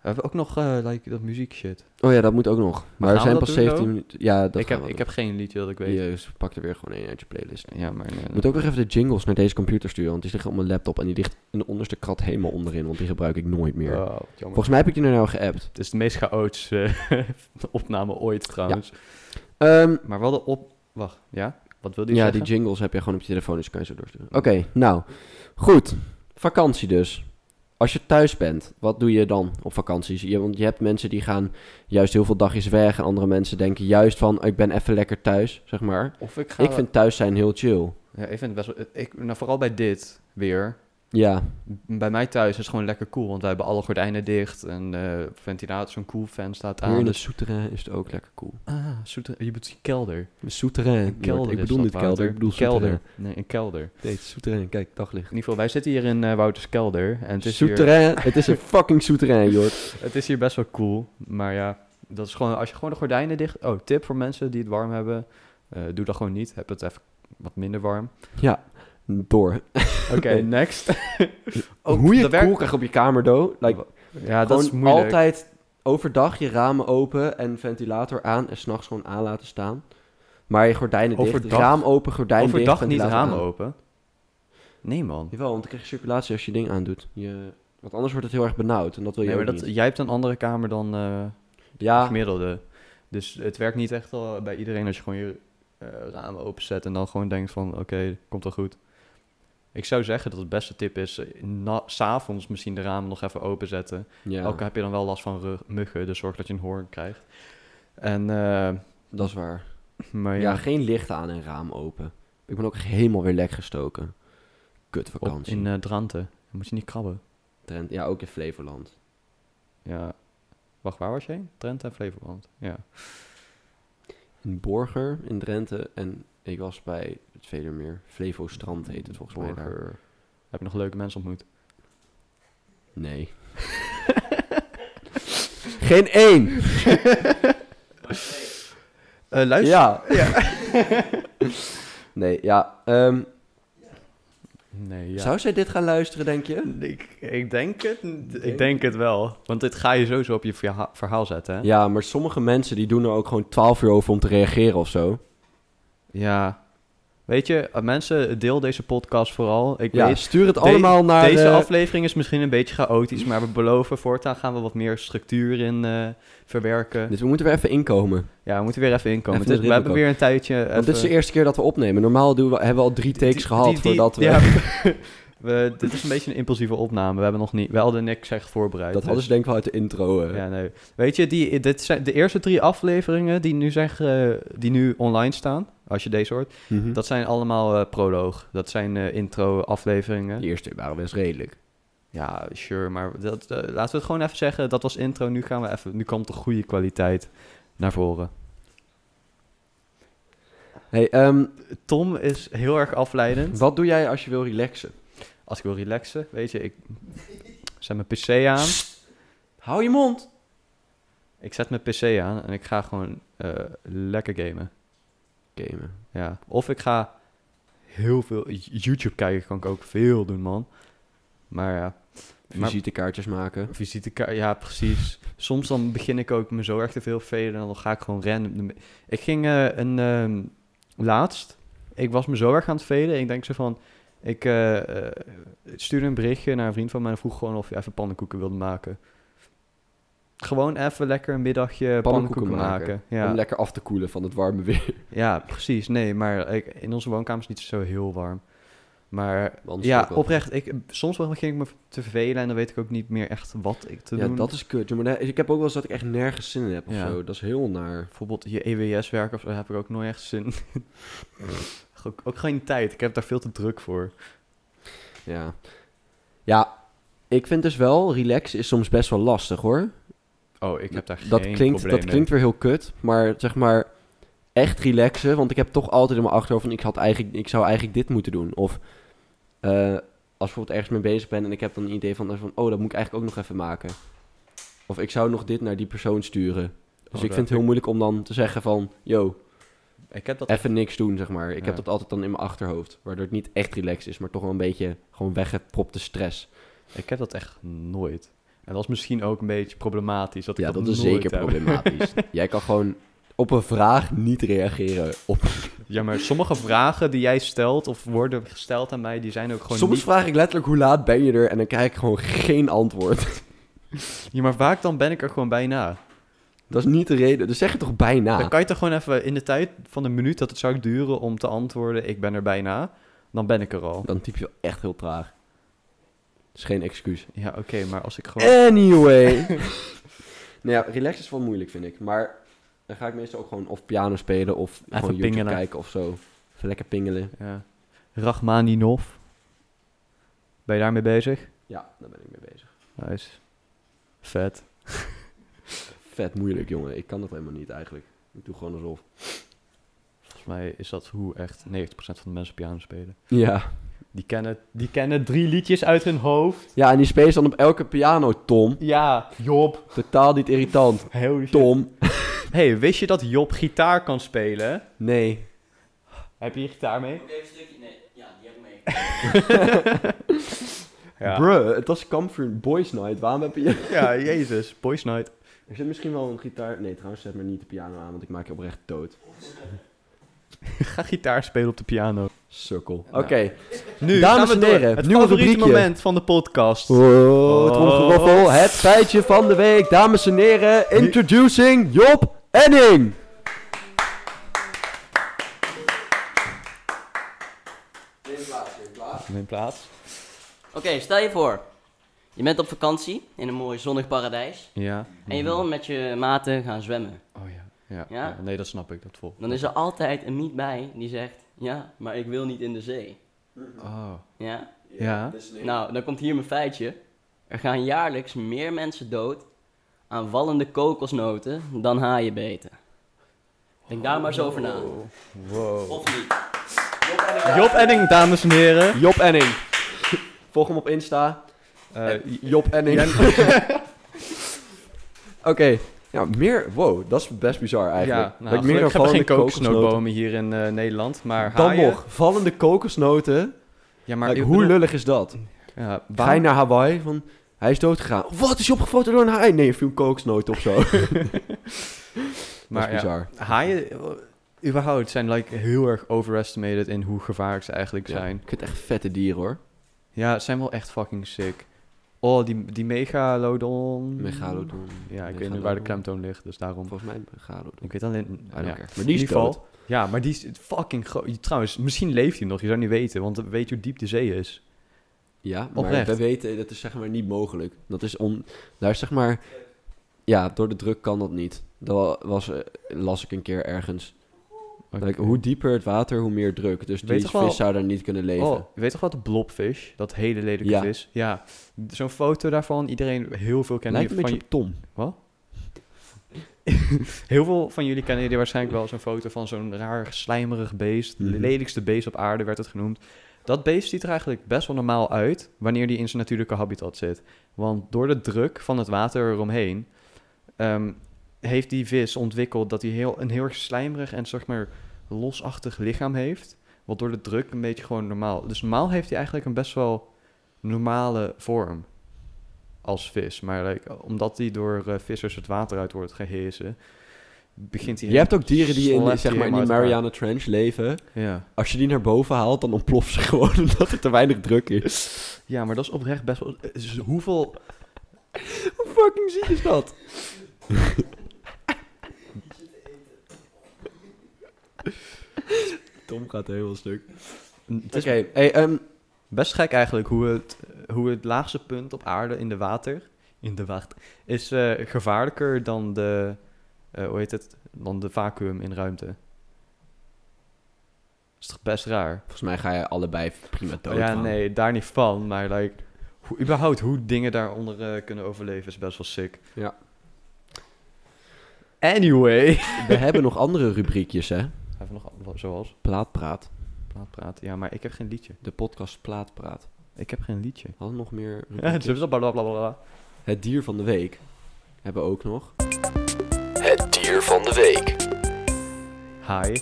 Speaker 1: We hebben ook nog eh, like, dat muziek shit.
Speaker 3: Oh ja, dat moet ook nog.
Speaker 1: gaan
Speaker 3: Maar er
Speaker 1: we
Speaker 3: zijn
Speaker 1: dat
Speaker 3: pas
Speaker 1: doen
Speaker 3: 17
Speaker 1: zo?
Speaker 3: minuten. Ja, dat
Speaker 1: Ik heb, ik heb geen liedje dat ik weet.
Speaker 3: Jezus, pak er weer gewoon één uit je playlist.
Speaker 1: Ja, maar... nee,
Speaker 3: Ik
Speaker 1: nee.
Speaker 3: moet ook nog even de jingles naar deze computer sturen, want die liggen op mijn laptop en die ligt in de onderste krat helemaal onderin, want die gebruik ik nooit meer.
Speaker 1: Oh, wat jammer.
Speaker 3: Volgens mij heb ik die naar jou geappt.
Speaker 1: Het is de meest chaotische [LAUGHS] eh, opname ooit trouwens.
Speaker 3: Ehm,
Speaker 1: Maar wel de op... Wacht, ja? Wat wilde
Speaker 3: ja,
Speaker 1: je zeggen?
Speaker 3: die jingles heb je gewoon op je telefoon, dus kan je zo doorsturen. Oké, nou. Goed. Vakantie dus. Als je thuis bent, wat doe je dan op vakanties? Je, want je hebt mensen die gaan juist heel veel dagjes weg en andere mensen denken juist van, ik ben even lekker thuis, zeg maar.
Speaker 1: Of ik ga...
Speaker 3: Ik vind thuis zijn heel chill.
Speaker 1: Ja, ik vind het best wel... Ik, nou, vooral bij dit weer.
Speaker 3: Ja,
Speaker 1: Bij mij thuis is het gewoon lekker cool, want wij hebben alle gordijnen dicht en eh ventilator, zo'n cool fan staat
Speaker 3: Hier
Speaker 1: aan.
Speaker 3: in het
Speaker 1: Dus,
Speaker 3: Souterrain is het ook lekker cool.
Speaker 1: ah, zoete, je bedoelt kelder.
Speaker 3: Souterrain.
Speaker 1: Een kelder
Speaker 3: ik
Speaker 1: is
Speaker 3: bedoel
Speaker 1: dat
Speaker 3: niet kelder,
Speaker 1: water.
Speaker 3: ik bedoel
Speaker 1: kelder. Nee, een kelder. In
Speaker 3: Nee, het is Souterrain. Kijk, daglicht.
Speaker 1: ieder geval, wij zitten hier in eh, Wouters kelder en het is, hier,
Speaker 3: Souterrain. Het is een fucking Souterrain, joh.
Speaker 1: het is hier best wel cool, maar ja, dat is gewoon, als je gewoon de gordijnen dicht... Oh, tip voor mensen die het warm hebben, eh, doe dat gewoon niet, heb het even wat minder warm.
Speaker 3: Ja, door.
Speaker 1: Oké, next. Oh,
Speaker 3: Hoe je
Speaker 1: dat
Speaker 3: het
Speaker 1: werkt-
Speaker 3: cool krijgt op je kamer, do. Like,
Speaker 1: Ja, dat is
Speaker 3: gewoon
Speaker 1: moeilijk.
Speaker 3: altijd overdag je ramen open en ventilator aan en s'nachts gewoon aan laten staan. Maar je gordijnen dicht,
Speaker 1: Overdag-
Speaker 3: raam open, gordijn
Speaker 1: Overdag
Speaker 3: dicht,
Speaker 1: niet het
Speaker 3: ventilator
Speaker 1: raam
Speaker 3: aan.
Speaker 1: open. Nee man.
Speaker 3: Jawel, want dan krijg je circulatie als je je ding aandoet. Je... Want anders wordt het heel erg benauwd en dat wil je
Speaker 1: Nee, maar
Speaker 3: ook
Speaker 1: dat,
Speaker 3: niet. Ah.
Speaker 1: jij hebt een andere kamer dan... eh,
Speaker 3: Ja,
Speaker 1: gemiddelde. Dus het werkt niet echt al bij iedereen als je gewoon je eh, ramen openzet en dan gewoon denkt van oké, komt wel goed. Ik zou zeggen dat het beste tip is, eh, na- s s'avonds misschien de ramen nog even openzetten.
Speaker 3: ja
Speaker 1: Ook al heb je dan wel last van rug- muggen, dus zorg dat je een hoorn krijgt. En, eh,
Speaker 3: dat is waar.
Speaker 1: maar
Speaker 3: Ja,
Speaker 1: ja,
Speaker 3: geen licht aan en raam open. Ik ben ook helemaal weer lek gestoken. Kut
Speaker 1: op-
Speaker 3: vakantie.
Speaker 1: in eh Drenthe Dan moet je niet krabben.
Speaker 3: Trent, ja, ook in Flevoland.
Speaker 1: Ja. Wacht, waar was je heen? Drenthe en Flevoland. Ja.
Speaker 3: In Borger, in Drenthe. En ik was bij het Veluwemeer. Flevo Strand heet het volgens mij daar.
Speaker 1: Borger. Heb je nog leuke mensen ontmoet?
Speaker 3: Nee. [LAUGHS] geen één!
Speaker 1: Eh, luister.
Speaker 3: [LAUGHS] Ja. nee, ja. ehm,
Speaker 1: Nee, ja.
Speaker 3: Zou zij dit gaan luisteren, denk je?
Speaker 1: Ik, ik denk het. Ik denk het wel. Want dit ga je sowieso op je verha- verhaal zetten, hè?
Speaker 3: Ja, maar sommige mensen die doen er ook gewoon 12 uur over om te reageren of zo.
Speaker 1: Ja. Weet je, eh, mensen, deel deze podcast vooral. Ik
Speaker 3: Ja,
Speaker 1: weet,
Speaker 3: stuur het
Speaker 1: de-
Speaker 3: allemaal naar...
Speaker 1: deze
Speaker 3: eh,
Speaker 1: aflevering is misschien een beetje chaotisch, maar we beloven voortaan gaan we wat meer structuur in eh, verwerken.
Speaker 3: Dus we moeten weer even inkomen.
Speaker 1: Ja, we moeten weer even inkomen.
Speaker 3: Even
Speaker 1: Dit-
Speaker 3: de
Speaker 1: we
Speaker 3: ritme
Speaker 1: hebben
Speaker 3: komen.
Speaker 1: weer een tijdje.
Speaker 3: Want dit is de
Speaker 1: even-
Speaker 3: eerste keer dat we opnemen. Normaal doen we, hebben we al drie takes
Speaker 1: die-
Speaker 3: gehad
Speaker 1: die- die-
Speaker 3: voordat we... [LAUGHS]
Speaker 1: ja, [LAUGHS] we- dit is een beetje een impulsieve opname. We hebben nog niet, we hadden niks echt voorbereid. dus-
Speaker 3: Dat hadden ze denk ik wel uit de intro. eh.
Speaker 1: Ja, nee. Weet je, die, dit zijn de eerste drie afleveringen die nu, zijn ge- die nu online staan, als je deze hoort,
Speaker 3: Mhm.
Speaker 1: dat zijn allemaal eh, proloog. Dat zijn eh, intro-afleveringen.
Speaker 3: Die eerste waren best redelijk.
Speaker 1: Ja, sure, maar dat, eh, laten we het gewoon even zeggen. Dat was intro, nu gaan we even, nu komt de goede kwaliteit naar voren.
Speaker 3: Hey, ehm,
Speaker 1: Tom is heel erg
Speaker 3: [LAUGHS]
Speaker 1: afleidend.
Speaker 3: wat doe jij als je wil relaxen?
Speaker 1: Als ik wil relaxen, weet je, ik zet mijn pc aan.
Speaker 3: Hou je mond.
Speaker 1: Ik zet mijn pc aan en ik ga gewoon eh, lekker gamen.
Speaker 3: Gamen.
Speaker 1: Ja. Of ik ga heel veel YouTube kijken, kan ik ook veel doen, man. Maar ja, Maar-
Speaker 3: Visitekaartjes maken.
Speaker 1: visitekaart, ja, precies. Soms dan begin ik ook me zo erg te veel vervelen en dan ga ik gewoon random. de me- Ik ging eh, een ehm, laatst, ik was me zo erg aan het velen. Ik denk zo van, ik eh, eh, stuurde een berichtje naar een vriend van mij en vroeg gewoon of hij even pannenkoeken wilde maken. Gewoon even lekker een middagje pannenkoeken, maken. Ja.
Speaker 3: Om lekker af te koelen van het warme [LAUGHS] weer.
Speaker 1: Ja, precies. Nee, maar ik, in onze woonkamer is het niet zo heel warm. Maar
Speaker 3: Anders ook
Speaker 1: ja,
Speaker 3: wel.
Speaker 1: oprecht. Ik, soms begin ik me te vervelen en dan weet ik ook niet meer echt wat ik te
Speaker 3: ja,
Speaker 1: doen.
Speaker 3: dat is kut. joh, Maar daar- ik heb ook wel eens dat ik echt nergens zin in heb of
Speaker 1: Ja.
Speaker 3: zo. Dat is heel naar.
Speaker 1: Bijvoorbeeld je EWS werken of zo heb ik ook nooit echt zin.
Speaker 3: [LAUGHS]
Speaker 1: in. ook, ook geen tijd. Ik heb daar veel te druk voor.
Speaker 3: Ja. Ja, ik vind dus wel, relaxen is soms best wel lastig hoor.
Speaker 1: Oh, ik heb daar
Speaker 3: dat
Speaker 1: geen
Speaker 3: klinkt,
Speaker 1: probleem
Speaker 3: dat
Speaker 1: mee.
Speaker 3: klinkt weer heel kut, maar zeg maar echt relaxen, want ik heb toch altijd in mijn achterhoofd van ik, had eigenlijk, ik zou eigenlijk dit moeten doen. Of eh, als ik bijvoorbeeld ergens mee bezig ben en ik heb dan een idee van, van oh, dat moet ik eigenlijk ook nog even maken. Of ik zou nog dit naar die persoon sturen. Dus
Speaker 1: Oh, dat
Speaker 3: ik vind het
Speaker 1: heb
Speaker 3: heel moeilijk om dan te zeggen van, yo,
Speaker 1: Ik heb dat
Speaker 3: even niks doen, zeg maar. Ik
Speaker 1: Ja.
Speaker 3: heb dat altijd dan in mijn achterhoofd, waardoor het niet echt relaxed is, maar toch wel een beetje gewoon weggepropte stress.
Speaker 1: Ik heb dat echt nooit. En dat is misschien ook een beetje problematisch. Dat ik
Speaker 3: ja,
Speaker 1: dat,
Speaker 3: dat is
Speaker 1: nooit
Speaker 3: zeker
Speaker 1: heb. [LAUGHS]
Speaker 3: problematisch. Jij kan gewoon op een vraag niet reageren. Op...
Speaker 1: Ja, maar sommige vragen die jij stelt of worden gesteld aan mij, die zijn ook gewoon
Speaker 3: Soms
Speaker 1: niet
Speaker 3: vraag ik letterlijk hoe laat ben je er en dan krijg ik gewoon geen antwoord. [LAUGHS]
Speaker 1: Ja, maar vaak dan ben ik er gewoon bijna.
Speaker 3: Dat is niet de reden. Dus zeg het toch bijna.
Speaker 1: Dan kan je toch gewoon even in de tijd van een minuut dat het zou duren om te antwoorden: ik ben er bijna. Dan ben ik er al.
Speaker 3: Dan typ je wel echt heel traag. Dat is geen excuus.
Speaker 1: Ja, oké, maar als ik gewoon.
Speaker 3: Anyway.
Speaker 1: [LAUGHS]
Speaker 3: nou ja, relax is wel moeilijk vind ik. Maar dan ga ik meestal ook gewoon of piano spelen of gewoon YouTube
Speaker 1: pingelen.
Speaker 3: kijken of zo. Even lekker pingelen.
Speaker 1: Ja. Rachmaninov. Ben je daarmee bezig?
Speaker 3: Ja, daar ben ik mee bezig.
Speaker 1: Nice. Vet.
Speaker 3: Vet moeilijk jongen. Ik kan dat helemaal niet eigenlijk. Ik doe gewoon alsof.
Speaker 1: Volgens mij is dat hoe echt 90% van de mensen piano spelen.
Speaker 3: Ja.
Speaker 1: Die kennen, die kennen drie liedjes uit hun hoofd.
Speaker 3: Ja, en die speel je dan op elke piano, Tom.
Speaker 1: Ja, Job.
Speaker 3: Totaal niet irritant.
Speaker 1: Heel
Speaker 3: Tom.
Speaker 1: Hey, wist je dat Job gitaar kan spelen?
Speaker 3: Nee.
Speaker 1: Heb je je gitaar mee?
Speaker 2: Ook even een stukje. Nee, ja, die heb ik mee.
Speaker 3: Bruh, het was Comfort Boys Night. Waarom heb je... [LAUGHS]
Speaker 1: Ja, jezus. Boys Night.
Speaker 3: Er zit misschien wel een gitaar... Nee, trouwens, zet maar niet de piano aan, want ik maak je oprecht dood.
Speaker 1: Ga gitaar spelen op de piano.
Speaker 3: Sukkel. Oké.
Speaker 1: Nou. Nu
Speaker 3: Dames
Speaker 1: gaan we
Speaker 3: en
Speaker 1: door.
Speaker 3: heren,
Speaker 1: Het
Speaker 3: nieuwe
Speaker 1: favoriete
Speaker 3: rubriekje.
Speaker 1: moment van de podcast.
Speaker 3: Oh, het tromgeroffel. Het feitje van de week. Dames en heren, introducing Job Enning.
Speaker 1: Neem plaats.
Speaker 2: Oké, stel je voor. Je bent op vakantie in een mooi zonnig paradijs.
Speaker 1: Ja.
Speaker 2: En je wil met je maten gaan zwemmen.
Speaker 1: Oh ja. Ja,
Speaker 2: Ja?
Speaker 1: ja, Nee, dat snap ik. Dat vol.
Speaker 2: Dan is er altijd een miet bij die zegt... Ja, maar ik wil niet in de zee.
Speaker 1: Oh.
Speaker 2: Ja?
Speaker 1: Ja.
Speaker 2: Nou, dan komt hier mijn feitje. Er gaan jaarlijks meer mensen dood aan vallende kokosnoten dan haaienbeten. Denk daar maar eens over na.
Speaker 1: Wow.
Speaker 2: Of niet?
Speaker 1: Job Edding, dames en heren.
Speaker 3: Job Enning. [LAUGHS] Volg hem op Insta.
Speaker 1: Eh, j-
Speaker 3: Job Enning. [LAUGHS] Oké. Ja, meer... Wow, dat is best bizar eigenlijk.
Speaker 1: ja,
Speaker 3: Dat
Speaker 1: nou,
Speaker 3: ik
Speaker 1: meer hebben we
Speaker 3: dan
Speaker 1: geen
Speaker 3: vallende kokosnoten-
Speaker 1: kokosnootbomen hier in eh, Nederland, maar
Speaker 3: Dan
Speaker 1: haaien-
Speaker 3: nog, vallende kokosnoten.
Speaker 1: Ja, maar
Speaker 3: Like,
Speaker 1: ik
Speaker 3: hoe
Speaker 1: bedoel-
Speaker 3: lullig is dat?
Speaker 1: Ja,
Speaker 3: Ga je
Speaker 1: waar,
Speaker 3: naar Hawaii? Van, hij is doodgegaan. Wat, is je opgefoten door een haai? Nee, je viel kooksnoot of
Speaker 1: [LAUGHS]
Speaker 3: zo.
Speaker 1: maar
Speaker 3: dat
Speaker 1: ja,
Speaker 3: is bizar.
Speaker 1: haaien eh, überhaupt zijn like, heel erg overestimated in hoe gevaarlijk ze eigenlijk
Speaker 3: Ja,
Speaker 1: zijn.
Speaker 3: Ik vind het echt vette dieren, hoor.
Speaker 1: Ja, ze zijn wel echt fucking sick. Oh, die, die megalodon.
Speaker 3: Megalodon.
Speaker 1: Mm. Ja, ik weet
Speaker 3: Megalodon.
Speaker 1: niet waar de klemtoon ligt, dus daarom.
Speaker 3: Volgens mij megalodon.
Speaker 1: Ik weet alleen...
Speaker 3: I don't
Speaker 1: ja.
Speaker 3: care. Maar die is
Speaker 1: In ieder geval- Ja, maar die is fucking groot. Trouwens, misschien leeft hij nog. Je zou niet weten, want weet je hoe diep de zee is?
Speaker 3: Ja, maar
Speaker 1: Oprecht.
Speaker 3: wij weten, dat is zeg maar niet mogelijk. Dat is on... Daar is zeg maar... Ja, door de druk kan dat niet. Dat wa- was, eh, las ik een keer ergens. Like, hoe dieper het water, hoe meer druk. Dus
Speaker 1: Weet toch
Speaker 3: die vis
Speaker 1: wel-
Speaker 3: zou daar niet kunnen leven.
Speaker 1: Oh, weet toch wat de blobfish? Dat hele lelijke
Speaker 3: Ja.
Speaker 1: vis. Ja, zo'n foto daarvan. Iedereen, heel veel kennen
Speaker 3: Lijkt een
Speaker 1: die van
Speaker 3: beetje op Tom.
Speaker 1: je- Heel veel van jullie kennen die waarschijnlijk wel zo'n foto van zo'n raar slijmerig beest.
Speaker 3: Mhm.
Speaker 1: De lelijkste beest op aarde werd het genoemd. Dat beest ziet er eigenlijk best wel normaal uit wanneer die in zijn natuurlijke habitat zit. Want door de druk van het water eromheen ehm, heeft die vis ontwikkeld dat hij heel, een heel erg slijmerig en zeg maar losachtig lichaam heeft. Wat door de druk een beetje gewoon normaal. Dus normaal heeft hij eigenlijk een best wel normale vorm als vis. Maar like, omdat hij door eh, vissers het water uit wordt gehezen, begint hij...
Speaker 3: Je hebt ook dieren die in,
Speaker 1: slaat
Speaker 3: zeg maar, in
Speaker 1: helemaal
Speaker 3: die
Speaker 1: uit elkaar.
Speaker 3: Mariana Trench leven.
Speaker 1: Ja.
Speaker 3: Als je die naar boven haalt, dan ontploft ze [LAUGHS] gewoon omdat er te weinig druk is.
Speaker 1: ja, maar dat is oprecht best wel... eh, dus hoeveel...
Speaker 3: [LAUGHS] Hoe fucking ziek is dat? Tom gaat heel stuk.
Speaker 1: Het
Speaker 3: Oké,
Speaker 1: is
Speaker 3: hey, ehm,
Speaker 1: best gek eigenlijk hoe het, hoe het laagste punt op aarde in de water... In de wacht... Is eh, gevaarlijker dan de... eh, hoe heet het? Dan de vacuüm in ruimte. is toch best raar?
Speaker 3: volgens mij ga je allebei prima dood.
Speaker 1: ja,
Speaker 3: man.
Speaker 1: nee, daar niet van. Maar like, hoe, überhaupt hoe dingen daaronder eh, kunnen overleven is best wel sick.
Speaker 3: Ja.
Speaker 1: Anyway.
Speaker 3: [LAUGHS] We hebben nog andere rubriekjes, hè?
Speaker 1: Even nog wat- zoals
Speaker 3: Plaatpraat.
Speaker 1: praatpraat. Ja, maar ik heb geen liedje.
Speaker 3: De podcast Plaatpraat.
Speaker 1: Ik heb geen liedje.
Speaker 3: Hadden we nog meer
Speaker 1: [LAUGHS] Ja, dus het
Speaker 3: rubriekjes?
Speaker 1: is wel blablabla.
Speaker 3: Het dier van de week hebben we ook nog.
Speaker 4: Het dier van de week.
Speaker 1: Hi.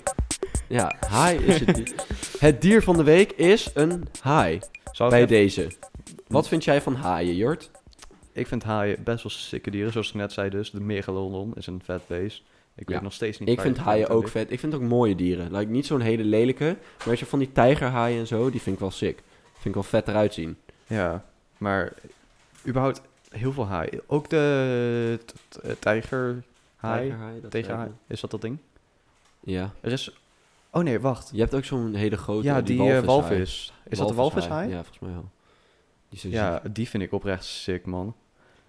Speaker 3: Ja, haai is
Speaker 1: [LAUGHS]
Speaker 3: het dier. het dier van de week is een haai.
Speaker 1: Zou
Speaker 3: Bij
Speaker 1: ik, even-
Speaker 3: deze. Wat vind jij van haaien, Jort?
Speaker 1: ik vind haaien best wel sikke dieren, zoals ik net zei dus. De megalodon is een vet beest. Ik weet
Speaker 3: Ja.
Speaker 1: nog steeds niet
Speaker 3: Ik
Speaker 1: waar
Speaker 3: vind
Speaker 1: die
Speaker 3: haaien
Speaker 1: vandaan
Speaker 3: ook
Speaker 1: ligt.
Speaker 3: vet. Ik vind ook mooie dieren. Like, niet zo'n hele lelijke. Maar als je van die tijgerhaaien en zo, die vind ik wel sick. Vind ik wel vet eruit zien.
Speaker 1: Ja, maar überhaupt heel veel haaien. Ook de t- t- tijgerhaai.
Speaker 3: Tijgerhaaien, dat
Speaker 1: Tegen
Speaker 3: zijn-
Speaker 1: haar. Is dat dat ding?
Speaker 3: Ja.
Speaker 1: Er is... Oh nee, wacht.
Speaker 3: Je hebt ook zo'n hele grote
Speaker 1: ja, die, eh,
Speaker 3: walvishaai.
Speaker 1: walvis. Is dat de walvishaai?
Speaker 3: Ja, volgens mij wel. Die zijn
Speaker 1: Ja, die vind ik oprecht sick, man.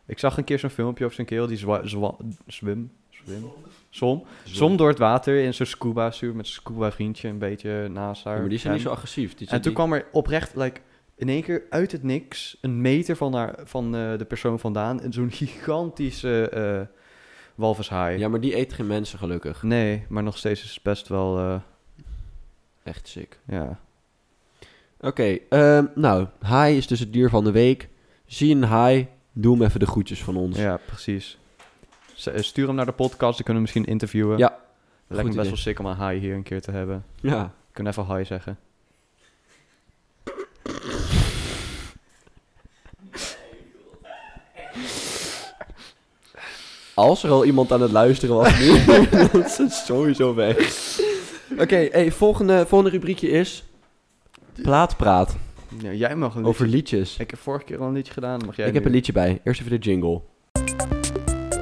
Speaker 1: Ik zag een keer zo'n filmpje op zijn keel die zwa- zwa- zwim... Zwim? Som.
Speaker 3: ziek.
Speaker 1: Som door het water in zo'n scuba suit met zijn scuba vriendje een beetje naast haar.
Speaker 3: Ja, maar die zijn niet zo
Speaker 1: En-
Speaker 3: agressief. Die
Speaker 1: En
Speaker 3: zijn
Speaker 1: toen
Speaker 3: die-
Speaker 1: kwam er oprecht, like, in één keer uit het niks, een meter van, haar, van eh, de persoon vandaan, en zo'n gigantische eh walvishaai.
Speaker 3: Ja, maar die eet geen mensen gelukkig.
Speaker 1: Nee, maar nog steeds is het best wel, eh,
Speaker 3: Echt sick.
Speaker 1: ja.
Speaker 3: Oké, ehm, nou, haai is dus het dier van de week. Zie een haai, doe hem even de groetjes van ons.
Speaker 1: Ja, precies. Z- eh, Stuur hem naar de podcast, dan kunnen we misschien interviewen.
Speaker 3: Ja,
Speaker 1: Lijkt me
Speaker 3: idee.
Speaker 1: best wel sick om een hi hier een keer te hebben.
Speaker 3: ja.
Speaker 1: We kunnen even hi zeggen.
Speaker 3: Als er al iemand aan het luisteren was [LAUGHS] nu, dan is het sowieso weg. Oké, hey, volgende, volgende rubriekje is... Plaatpraat
Speaker 1: Ja, jij mag een
Speaker 3: over
Speaker 1: liedje.
Speaker 3: liedjes.
Speaker 1: Ik heb vorige keer al een liedje gedaan, mag jij
Speaker 3: Ik heb
Speaker 1: nu?
Speaker 3: een liedje bij. Eerst even de jingle.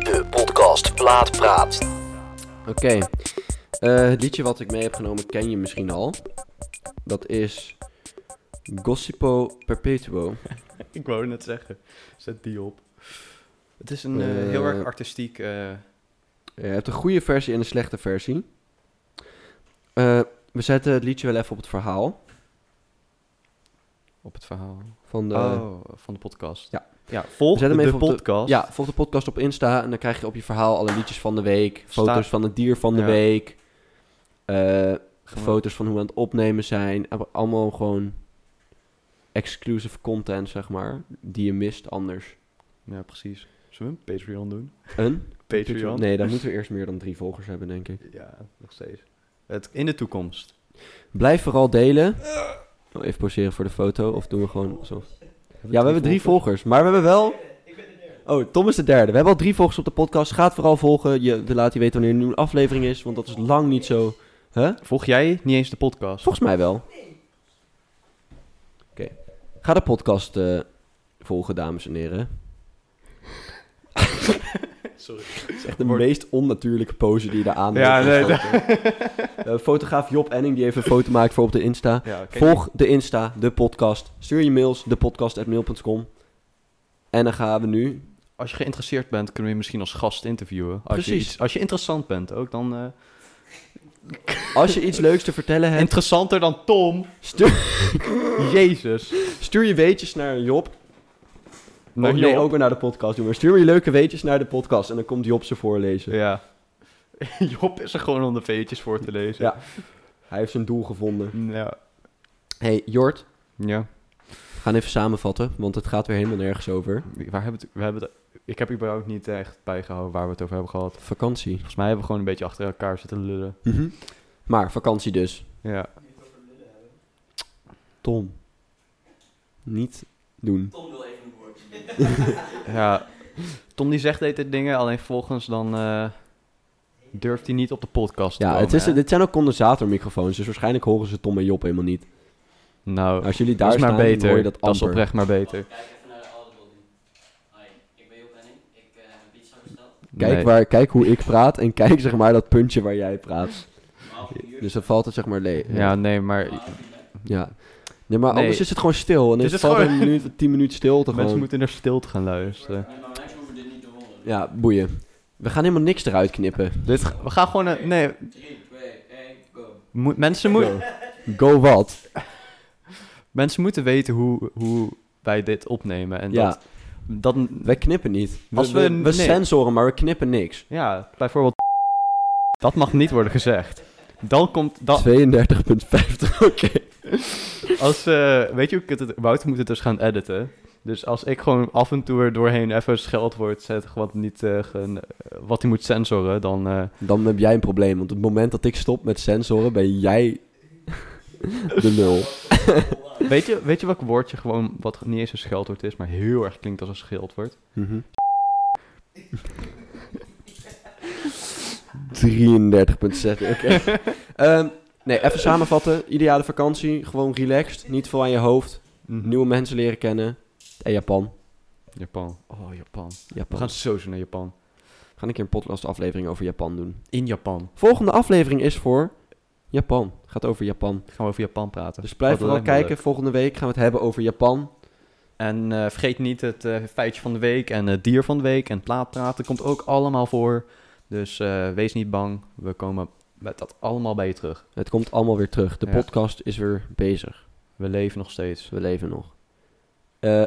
Speaker 4: De podcast Plaat Praat.
Speaker 3: Oké. Eh, het liedje wat ik mee heb genomen ken je misschien al. Dat is... Gossipo
Speaker 1: [LAUGHS]
Speaker 3: Perpetuo.
Speaker 1: Ik wou net zeggen. Zet die op. Het is een eh,
Speaker 3: Eh,
Speaker 1: heel erg artistiek... eh,
Speaker 3: Je hebt een goede versie en een slechte versie. Eh, we zetten het liedje wel even op het verhaal.
Speaker 1: op het verhaal.
Speaker 3: Van de,
Speaker 1: Oh, van de podcast.
Speaker 3: Ja.
Speaker 1: ja volg
Speaker 3: We zetten hem
Speaker 1: de
Speaker 3: even op de-
Speaker 1: podcast.
Speaker 3: Ja, volg de podcast op Insta en dan krijg je op je verhaal alle liedjes van de week.
Speaker 1: Sta-
Speaker 3: Foto's van het dier van de
Speaker 1: Ja.
Speaker 3: week. eh,
Speaker 1: Gewoon-
Speaker 3: foto's van hoe we aan het opnemen zijn. Ab- Allemaal gewoon exclusive content, zeg maar. Die je mist anders.
Speaker 1: Ja, precies. Zullen we een Patreon doen?
Speaker 3: Een?
Speaker 1: Patreon?
Speaker 3: Nee, dan moeten we eerst meer dan drie volgers hebben, denk ik.
Speaker 1: Ja, nog steeds. Het, in de toekomst.
Speaker 3: Blijf vooral delen. Wil Even poseren voor de foto, of doen we gewoon zo? Ja, we hebben drie volgers, maar we hebben wel... Oh, Tom is de derde. We hebben al drie volgers op de podcast. Ga het vooral volgen. Je we laten je weten wanneer een nieuwe aflevering is, want dat is lang niet zo... Huh?
Speaker 1: Volg jij niet eens de podcast?
Speaker 3: Volgens mij wel. Oké. Ga de podcast eh, volgen, dames en heren. [LAUGHS] Sorry. Het is echt de
Speaker 1: Wordt-
Speaker 3: meest onnatuurlijke pose die je daar aan
Speaker 1: Ja, nee,
Speaker 3: hebt Eh, fotograaf Job Enning die even een foto maakt voor op de Insta.
Speaker 1: Ja, oké.
Speaker 3: Volg de Insta, de podcast. Stuur je mails, depodcast.mail.com. En dan gaan we nu...
Speaker 1: Als je geïnteresseerd bent, kunnen we je misschien als gast interviewen. Als Je
Speaker 3: Precies.
Speaker 1: iets- als je interessant bent ook, dan... eh,
Speaker 3: Als je iets leuks te vertellen hebt,
Speaker 1: interessanter dan Tom.
Speaker 3: stuur,
Speaker 1: Jezus.
Speaker 3: stuur je weetjes naar Job.
Speaker 1: Nou,
Speaker 3: Of Oh, nee,
Speaker 1: Job.
Speaker 3: ook weer naar de podcast doen. Maar stuur je leuke weetjes naar de podcast. En dan komt Job ze voorlezen.
Speaker 1: Ja. [LAUGHS] Job is er gewoon om de veetjes voor te lezen.
Speaker 3: Ja. Hij heeft zijn doel gevonden.
Speaker 1: Ja.
Speaker 3: hey, Jort.
Speaker 1: ja.
Speaker 3: We gaan even samenvatten, want het gaat weer helemaal nergens over.
Speaker 1: Waar hebben we het, we hebben het, ik heb überhaupt niet echt bijgehouden waar we het over hebben gehad.
Speaker 3: Vakantie.
Speaker 1: Volgens mij hebben we gewoon een beetje achter elkaar zitten lullen.
Speaker 3: Mhm. Maar vakantie dus.
Speaker 1: Ja.
Speaker 3: Tom. Niet doen.
Speaker 1: ja. Tom die zegt deze dingen, alleen volgens dan eh, durft hij niet op de podcast te
Speaker 3: Ja,
Speaker 1: komen,
Speaker 3: het is,
Speaker 1: hè?
Speaker 3: dit zijn ook condensatormicrofoons, dus waarschijnlijk horen ze Tom en Job helemaal niet.
Speaker 1: Nou,
Speaker 3: Als jullie daar
Speaker 1: dat is maar
Speaker 3: staan, dan
Speaker 1: beter.
Speaker 3: hoor je dat
Speaker 1: Dat, is
Speaker 3: amper.
Speaker 1: oprecht maar beter.
Speaker 2: Kijk even naar de audible nu. Hi, ik ben Job Henning. Ik eh, heb pizza besteld.
Speaker 3: Kijk,
Speaker 1: Nee.
Speaker 3: waar, kijk hoe ik praat en [LAUGHS] kijk zeg maar dat puntje waar jij praat.
Speaker 2: Maar uur.
Speaker 3: Dus dan valt het zeg maar leeg.
Speaker 1: Ja, nee, maar
Speaker 3: ja. Nee, maar
Speaker 1: Nee.
Speaker 3: anders is het gewoon stil. En
Speaker 1: Dit
Speaker 3: is
Speaker 1: is
Speaker 3: het altijd
Speaker 1: gewoon-
Speaker 3: een minuut, tien minuten
Speaker 1: [LAUGHS]
Speaker 3: stilte
Speaker 1: mensen
Speaker 3: gewoon.
Speaker 1: moeten naar stilte gaan luisteren.
Speaker 2: Nee, maar mensen hoeven dit niet te horen.
Speaker 3: Ja, boeien. We gaan helemaal niks eruit knippen.
Speaker 1: Dit, ga- we gaan gewoon... een- nee,
Speaker 2: 3, 2, 1, go.
Speaker 1: moet- mensen, moet,
Speaker 3: Go wat?
Speaker 1: mensen moeten weten hoe, hoe wij dit opnemen. En
Speaker 3: Ja.
Speaker 1: dat, dat...
Speaker 3: Wij knippen niet. We,
Speaker 1: Als
Speaker 3: we,
Speaker 1: we-
Speaker 3: we
Speaker 1: nee.
Speaker 3: sensoren, maar we knippen niks.
Speaker 1: Ja, bijvoorbeeld... Dat mag niet worden gezegd. Dan komt... Dan,
Speaker 3: 32,50, [LAUGHS] oké.
Speaker 1: Als, eh, weet je hoe kut het... Wouter moet het dus gaan editen. Dus als ik gewoon af en toe er doorheen even een scheldwoord zet... wat, niet, eh, gen- eh, wat hij moet censoren, dan... eh,
Speaker 3: Dan heb jij een probleem, want op het moment dat ik stop met sensoren, ben jij [LAUGHS] de nul.
Speaker 1: weet, je, weet je welk woordje gewoon... wat niet eens een scheldwoord is, maar heel erg klinkt als een scheldwoord?
Speaker 3: Mhm. [LAUGHS] 33,6, oké. Ehm, nee, even samenvatten. Ideale vakantie, gewoon relaxed, niet veel aan je hoofd.
Speaker 1: Mhm.
Speaker 3: Nieuwe mensen leren kennen. En Japan.
Speaker 1: Japan. Oh, Japan. We
Speaker 3: Japan.
Speaker 1: gaan sowieso naar Japan.
Speaker 3: We gaan een keer een podcast aflevering over Japan doen.
Speaker 1: In Japan.
Speaker 3: Volgende aflevering is voor Japan. Gaat over Japan.
Speaker 1: Gaan we over Japan praten.
Speaker 3: Dus blijf
Speaker 1: Oh, dat
Speaker 3: vooral
Speaker 1: lijkt me
Speaker 3: kijken. Volgende week gaan we het hebben over Japan.
Speaker 1: En eh, vergeet niet het eh, feitje van de week en het dier van de week en plaatpraten komt ook allemaal voor. Dus eh, wees niet bang, we komen met dat allemaal bij je terug.
Speaker 3: Het komt allemaal weer terug. De
Speaker 1: Ja.
Speaker 3: podcast is weer bezig. Dus
Speaker 1: We leven nog steeds.
Speaker 3: We leven nog. Eh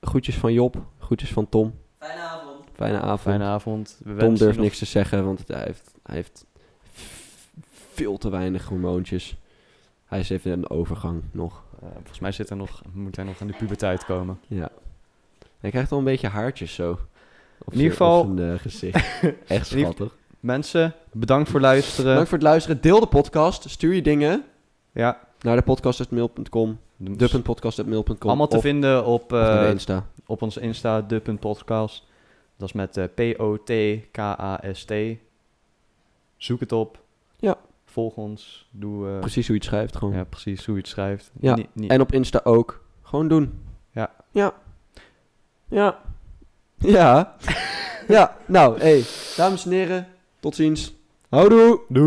Speaker 3: groetjes van Job. Groetjes van Tom.
Speaker 2: Fijne avond.
Speaker 3: Fijne avond.
Speaker 1: Fijne avond. We wensen
Speaker 3: Tom
Speaker 1: je
Speaker 3: durft
Speaker 1: nog-
Speaker 3: niks te zeggen, want het- hij heeft, hij heeft f- veel te weinig hormoontjes. Hij is even in een overgang nog.
Speaker 1: Eh, volgens mij zit er nog, moet hij nog aan de puberteit komen.
Speaker 3: Ja. Hij krijgt al een beetje haartjes zo. Op zijn-
Speaker 1: ieder geval- eh,
Speaker 3: op zijn, eh, gezicht.
Speaker 1: [LAUGHS]
Speaker 3: Echt
Speaker 1: In ieder-
Speaker 3: schattig.
Speaker 1: Mensen, bedankt voor luisteren.
Speaker 3: Bedankt voor het luisteren. Deel de podcast. Stuur je dingen
Speaker 1: Ja,
Speaker 3: naar de podcast.mail.com.
Speaker 1: de-
Speaker 3: De.podcast.mail.com.
Speaker 1: Dus allemaal te
Speaker 3: of-
Speaker 1: vinden op,
Speaker 3: of naar
Speaker 1: eh,
Speaker 3: de Insta.
Speaker 1: op onze Insta, de.podcast. Dat is met eh, P-O-T-K-A-S-T. Zoek het op.
Speaker 3: Ja.
Speaker 1: Volg ons. Doe, eh,
Speaker 3: Precies hoe je het schrijft gewoon.
Speaker 1: Ja, precies hoe je het schrijft.
Speaker 3: Ja,
Speaker 1: Niet- niet-
Speaker 3: En op Insta ook. Gewoon doen.
Speaker 1: Ja.
Speaker 3: Ja. Ja. [LAUGHS] Ja. ja. Nou, hey. Dames en heren. Tot ziens. Houdoe. Doei.